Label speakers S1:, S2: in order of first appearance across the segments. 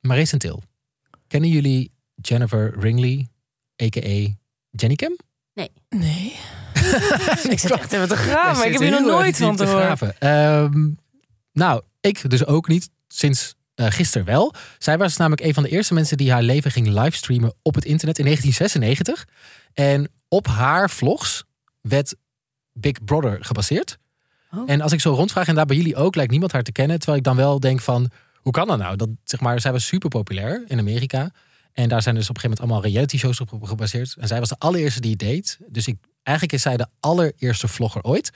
S1: Marie Sentil. Kennen jullie Jennifer Ringley, a.k.a. Jenny Cam?
S2: Nee. ik zit
S1: Klopt.
S2: echt even te
S1: Jij
S2: graven. Ik
S1: zit
S2: heb hier nog
S1: heel erg
S2: nooit
S1: diep
S2: van te
S1: te
S2: horen.
S1: graven. Ehm, nou, ik dus ook niet. Sinds eh gisteren wel. Zij was namelijk een van de eerste mensen die haar leven ging livestreamen op het internet in 1996. En op haar vlogs werd Big Brother gebaseerd.
S2: Oh.
S1: En als ik zo rondvraag en daar bij jullie ook, lijkt niemand haar te kennen. Terwijl ik dan wel denk van, hoe kan dat nou? Dat, zeg maar, zij was super populair in Amerika. En daar zijn dus op een gegeven moment allemaal reality shows op gebaseerd. En zij was de allereerste die het deed. Dus ik, eigenlijk is zij de allereerste vlogger ooit.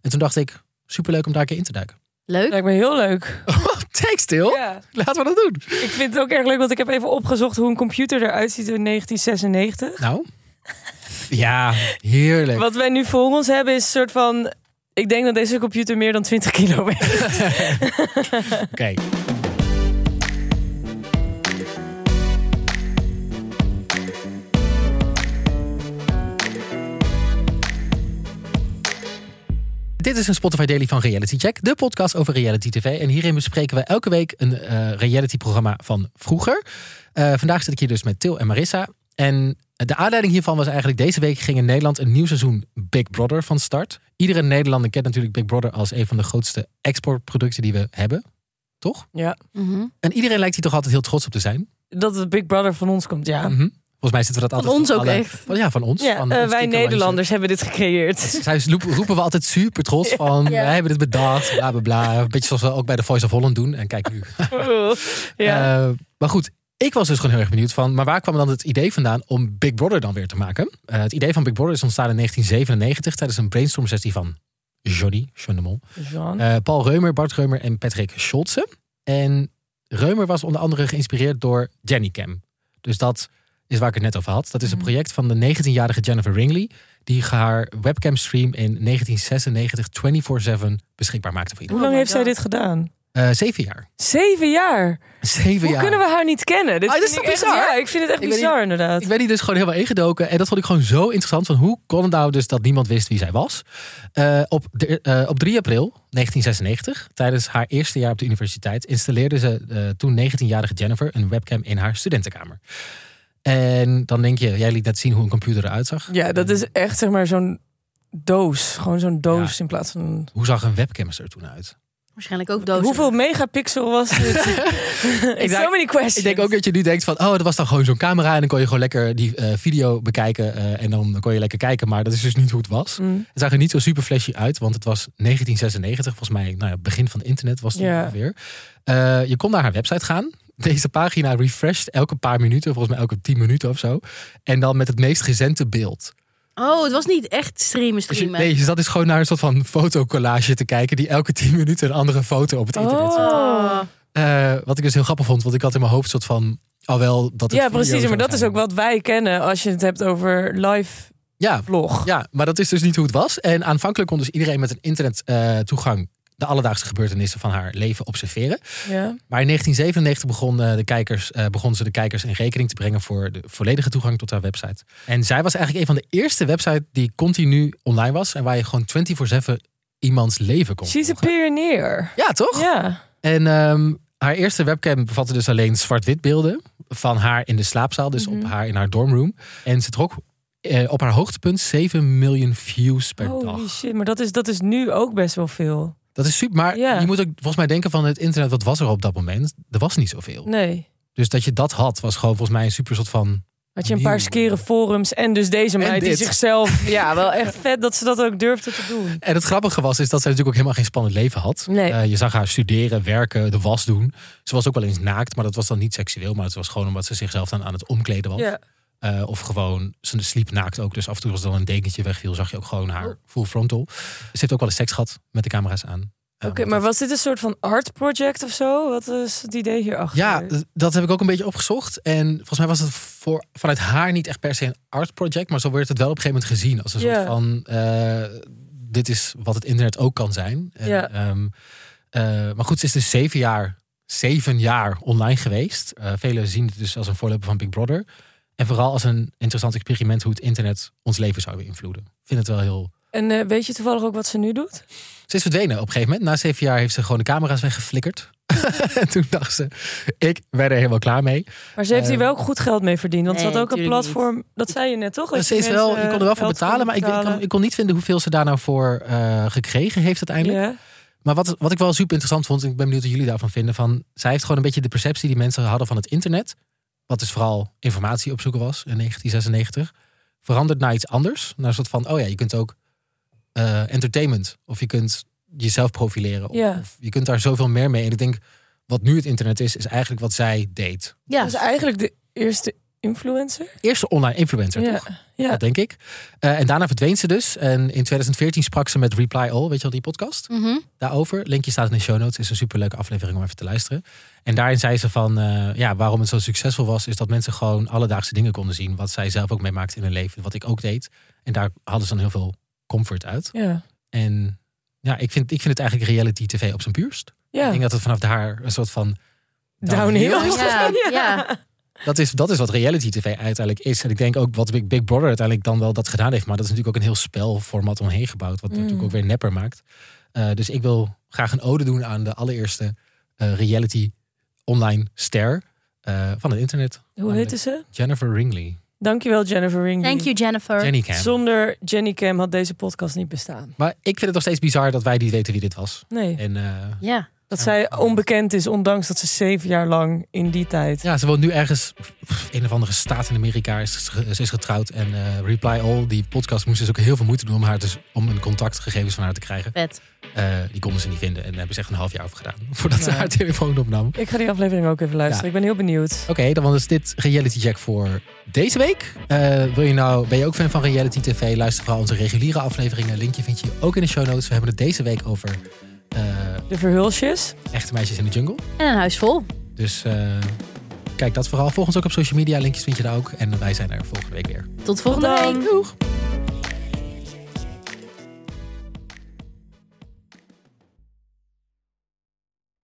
S1: En toen dacht ik, superleuk om daar een keer in te duiken.
S2: Dat
S3: Leuk.
S2: lijkt me heel leuk.
S1: Take stil,
S2: Ja.
S1: laten we dat doen.
S2: Ik vind het ook erg leuk, want ik heb even opgezocht hoe een computer eruit ziet in 1996.
S1: Nou, ja, heerlijk.
S2: Wat wij nu voor ons hebben is een soort van... Ik denk dat deze computer meer dan 20 kilo weegt.
S1: Oké. Dit is een Spotify Daily van Reality Check, de podcast over reality TV. En hierin bespreken we elke week een eh reality-programma van vroeger. Eh, vandaag zit ik hier dus met Til en Marissa. En de aanleiding hiervan was eigenlijk deze week ging in Nederland een nieuw seizoen Big Brother van start. Iedere Nederlander kent natuurlijk Big Brother als een van de grootste exportproducten die we hebben. Toch?
S2: Ja.
S3: Mhm.
S1: En iedereen lijkt hier toch altijd heel trots op te zijn.
S2: Dat het Big Brother van ons komt, ja.
S1: Mhm. Volgens mij zitten we dat
S3: Van
S1: altijd...
S3: ons ook
S1: alle-
S3: echt.
S1: Van, ja, van ons. van
S2: ja eh,
S1: ons
S2: wij
S1: kikkerlandje.
S2: Nederlanders hebben dit gecreëerd.
S1: Zij roep- roepen we altijd super trots van,
S3: Ja.
S1: wij hebben dit bedacht, bla bla bla. Beetje zoals we ook bij de Voice of Holland doen. En kijk nu.
S2: ja.
S1: Eh, maar goed, ik was dus gewoon heel erg benieuwd van, maar waar kwam dan het idee vandaan om Big Brother dan weer te maken? Eh, het idee van Big Brother is ontstaan in 1997 tijdens een brainstorm sessie van Johnny, John de Mol.
S2: Jean.
S1: Eh, Paul Reumer, Bart Reumer en Patrick Scholze. En Reumer was onder andere geïnspireerd door Jennycam. Dus dat is waar ik het net over had. Dat is een
S3: Mhm.
S1: project van de 19-jarige Jennifer Ringley... die haar webcamstream in 1996 24-7 beschikbaar maakte voor
S2: Hoe
S1: iedereen.
S2: lang
S3: my
S2: heeft zij
S3: God.
S2: dit gedaan?
S1: Eh, zeven jaar.
S2: Zeven jaar.
S1: Zeven
S2: Hoe
S1: jaar.
S2: kunnen we haar niet kennen? Dit
S1: Ah, dit is
S2: vind
S1: toch
S2: ik echt-
S1: bizar?
S2: ja, ik vind het echt
S1: Ik weet
S2: bizar, inderdaad.
S1: Ik ben hier dus gewoon helemaal ingedoken. En dat vond ik gewoon zo interessant. Van hoe kon het nou dus dat niemand wist wie zij was? Eh, op, de- eh, op 3 april 1996, tijdens haar eerste jaar op de universiteit... installeerde ze eh, toen 19-jarige Jennifer een webcam in haar studentenkamer. En dan denk je, jij liet net zien hoe een computer eruit zag.
S2: Ja, dat is echt zeg maar zo'n doos. Gewoon zo'n doos in plaats van... een-
S1: Hoe zag een webcam er toen uit?
S3: Waarschijnlijk ook dozen.
S2: Hoeveel megapixel was dit? It's
S1: denk-
S2: so many questions.
S1: Ik denk ook dat je nu denkt van, oh, dat was dan gewoon zo'n camera... en dan kon je gewoon lekker die eh, video bekijken eh, en dan kon je lekker kijken. Maar dat is dus niet hoe het was.
S2: Mm.
S1: Het zag er niet zo super flashy uit, want het was 1996, volgens mij, nou ja, begin van het internet was het
S2: Ja.
S1: ongeveer. Eh, je kon naar haar website gaan. Deze pagina refreshed elke paar minuten, volgens mij elke 10 minuten of zo. En dan met het meest recente beeld.
S3: Oh, het was niet echt streamen,
S1: Dus, je,
S3: streamen.
S1: nee, dus dat is gewoon naar een soort van fotocollage te kijken, die elke 10 minuten een andere foto op het internet zet.
S2: Oh.
S1: Eh, wat ik dus heel grappig vond, want ik had in mijn hoofd een soort van, al wel dat het
S2: Ja,
S1: video
S2: precies.
S1: zou
S2: Maar dat is
S1: zijn.
S2: ook wat wij kennen als je het hebt over live
S1: Ja,
S2: vlog.
S1: Ja, maar dat is dus niet hoe het was. En aanvankelijk kon dus iedereen met een internettoegang eh, de alledaagse gebeurtenissen van haar leven observeren.
S2: Ja.
S1: Maar in 1997 begon, eh, de kijkers, eh, begon ze de kijkers in rekening te brengen voor de volledige toegang tot haar website. En zij was eigenlijk een van de eerste websites die continu online was en waar je gewoon 24/7 iemands leven kon.
S2: She's a
S1: volgen.
S2: pioneer.
S1: Ja, toch?
S2: Ja.
S1: En ehm, haar eerste webcam bevatte dus alleen zwart-wit beelden van haar in de slaapzaal, dus
S3: Mhm.
S1: op haar in haar dormroom. En ze trok eh, op haar hoogtepunt 7 miljoen views per
S2: Holy
S1: dag.
S2: shit. Maar dat is, dat is nu ook best wel veel.
S1: Dat is super, maar
S2: Ja.
S1: je moet ook volgens mij denken van het internet, wat was er op dat moment? Er was niet zoveel.
S2: Nee.
S1: Dus dat je dat had, was gewoon volgens mij een super soort van...
S2: Had je een
S1: Nieuw.
S2: paar skere forums en dus deze
S1: En
S2: meid die
S1: dit.
S2: zichzelf... Ja, wel echt vet dat ze dat ook durfde te doen.
S1: En het grappige was, is dat zij natuurlijk ook helemaal geen spannend leven had.
S2: Nee.
S1: Eh, je zag haar studeren, werken, de was doen. Ze was ook wel eens naakt, maar dat was dan niet seksueel. Maar het was gewoon omdat ze zichzelf dan aan het omkleden was.
S2: Ja.
S1: Eh, of gewoon, ze sliep naakt ook. Dus af en toe als er dan een dekentje wegviel, zag je ook gewoon haar full frontal. Ze heeft ook wel eens seks gehad met de camera's aan. Eh,
S2: Oh. Oké,
S1: want
S2: maar
S1: dat-
S2: was dit een soort van art project of zo? Wat is het idee hierachter?
S1: Ja, d- dat heb ik ook een beetje opgezocht. En volgens mij was het voor, vanuit haar niet echt per se een art project. Maar zo werd het wel op een gegeven moment gezien. Als een
S2: Ja.
S1: soort van, eh, dit is wat het internet ook kan zijn. En,
S2: Ja.
S1: ehm, eh, maar goed, ze is dus zeven jaar, zeven jaar online geweest. Eh, velen zien het dus als een voorloper van Big Brother. En vooral als een interessant experiment hoe het internet ons leven zou beïnvloeden. Ik vind het wel heel
S2: En eh, weet je toevallig ook wat ze nu doet?
S1: ze is verdwenen op een gegeven moment. Na zeven jaar heeft ze gewoon de camera's weggeflikkerd. En toen dacht ze, ik ben er helemaal klaar mee.
S2: Maar ze heeft hier
S1: Ehm,
S2: wel goed geld mee verdiend. Want ze
S3: nee,
S2: had ook een
S3: tuurlijk
S2: platform. Dat zei je eh, net toch? Dat
S1: Eh, Ze is wel, je kon er wel voor betalen, maar ik, ik, kon, ik kon niet vinden hoeveel ze daar nou voor eh, gekregen heeft uiteindelijk.
S2: Ja.
S1: Maar wat, wat ik wel super interessant vond, en ik ben benieuwd wat jullie daarvan vinden. Van, zij heeft gewoon een beetje de perceptie die mensen hadden van het internet. Wat dus vooral informatie opzoeken was in 1996. Veranderd naar iets anders. Naar een soort van, oh ja, je kunt ook eh, entertainment. Of je kunt jezelf profileren. Of,
S2: Ja.
S1: of je kunt daar zoveel meer mee. En ik denk, wat nu het internet is, is eigenlijk wat zij deed.
S3: Ja,
S2: Dat is eigenlijk de eerste influencer.
S1: Eerste online influencer,
S2: Ja.
S1: toch?
S2: Ja.
S1: Dat denk ik. Eh, en daarna verdween ze dus. En in 2014 sprak ze met Reply All, weet je wel, die podcast?
S3: Mhm.
S1: daarover. Linkje staat in de show notes. Is een superleuke aflevering om even te luisteren. En daarin zei ze van, eh, ja, waarom het zo succesvol was, is dat mensen gewoon alledaagse dingen konden zien. Wat zij zelf ook meemaakte in hun leven, wat ik ook deed. En daar hadden ze dan heel veel comfort uit.
S2: Ja.
S1: En ja, ik vind, ik vind het eigenlijk reality tv op zijn puurst. Ik
S2: Ja.
S1: denk dat het vanaf daar een soort van,
S2: Downhill.
S1: Downhill.
S3: Ja,
S1: dat is, dat is wat reality tv uiteindelijk is. En ik denk ook wat Big, Big Brother uiteindelijk dan wel dat gedaan heeft. Maar dat is natuurlijk ook een heel spelformat omheen gebouwd, wat het
S2: Mm.
S1: natuurlijk ook weer nepper maakt. Eh, dus ik wil graag een ode doen aan de allereerste eh, reality online ster eh, van het internet.
S2: Hoe heette ze?
S1: Jennifer Ringley.
S2: Dankjewel Jennifer Ring.
S3: Thank you, Jennifer.
S1: Jenny Cam.
S2: Zonder Jenny Cam had deze podcast niet bestaan.
S1: Maar ik vind het nog steeds bizar dat wij niet weten wie dit was.
S2: Nee.
S1: En eh,
S3: Ja.
S2: Dat zij onbekend is, ondanks dat ze zeven jaar lang in die tijd.
S1: ja, ze woont nu ergens pff, een of andere staat in Amerika. Is, ge- ze is getrouwd. En eh, Reply All, die podcast, moest dus ook heel veel moeite doen om, haar dus, om een contactgegevens van haar te krijgen.
S3: Vet.
S1: Eh, die konden ze niet vinden. En daar hebben ze echt een half jaar over gedaan. Voordat ze
S2: Ja.
S1: haar telefoon opnam. Oké,
S2: Ik ga die aflevering ook even luisteren.
S1: Ja.
S2: Ik ben heel benieuwd.
S1: dan was dit Reality Check voor deze week. Eh, wil je nou, ben je ook fan van Reality TV? Luister vooral onze reguliere afleveringen. Linkje vind je ook in de show notes. We hebben het deze week over eh,
S2: De verhulsjes.
S1: echte meisjes in de jungle.
S3: En een huis vol.
S1: Dus eh, kijk dat vooral. Volg ons ook op social media. Linkjes vind je daar ook. En wij zijn er volgende week weer.
S3: Tot volgende
S2: dan.
S3: week. Doeg.
S1: Doeg!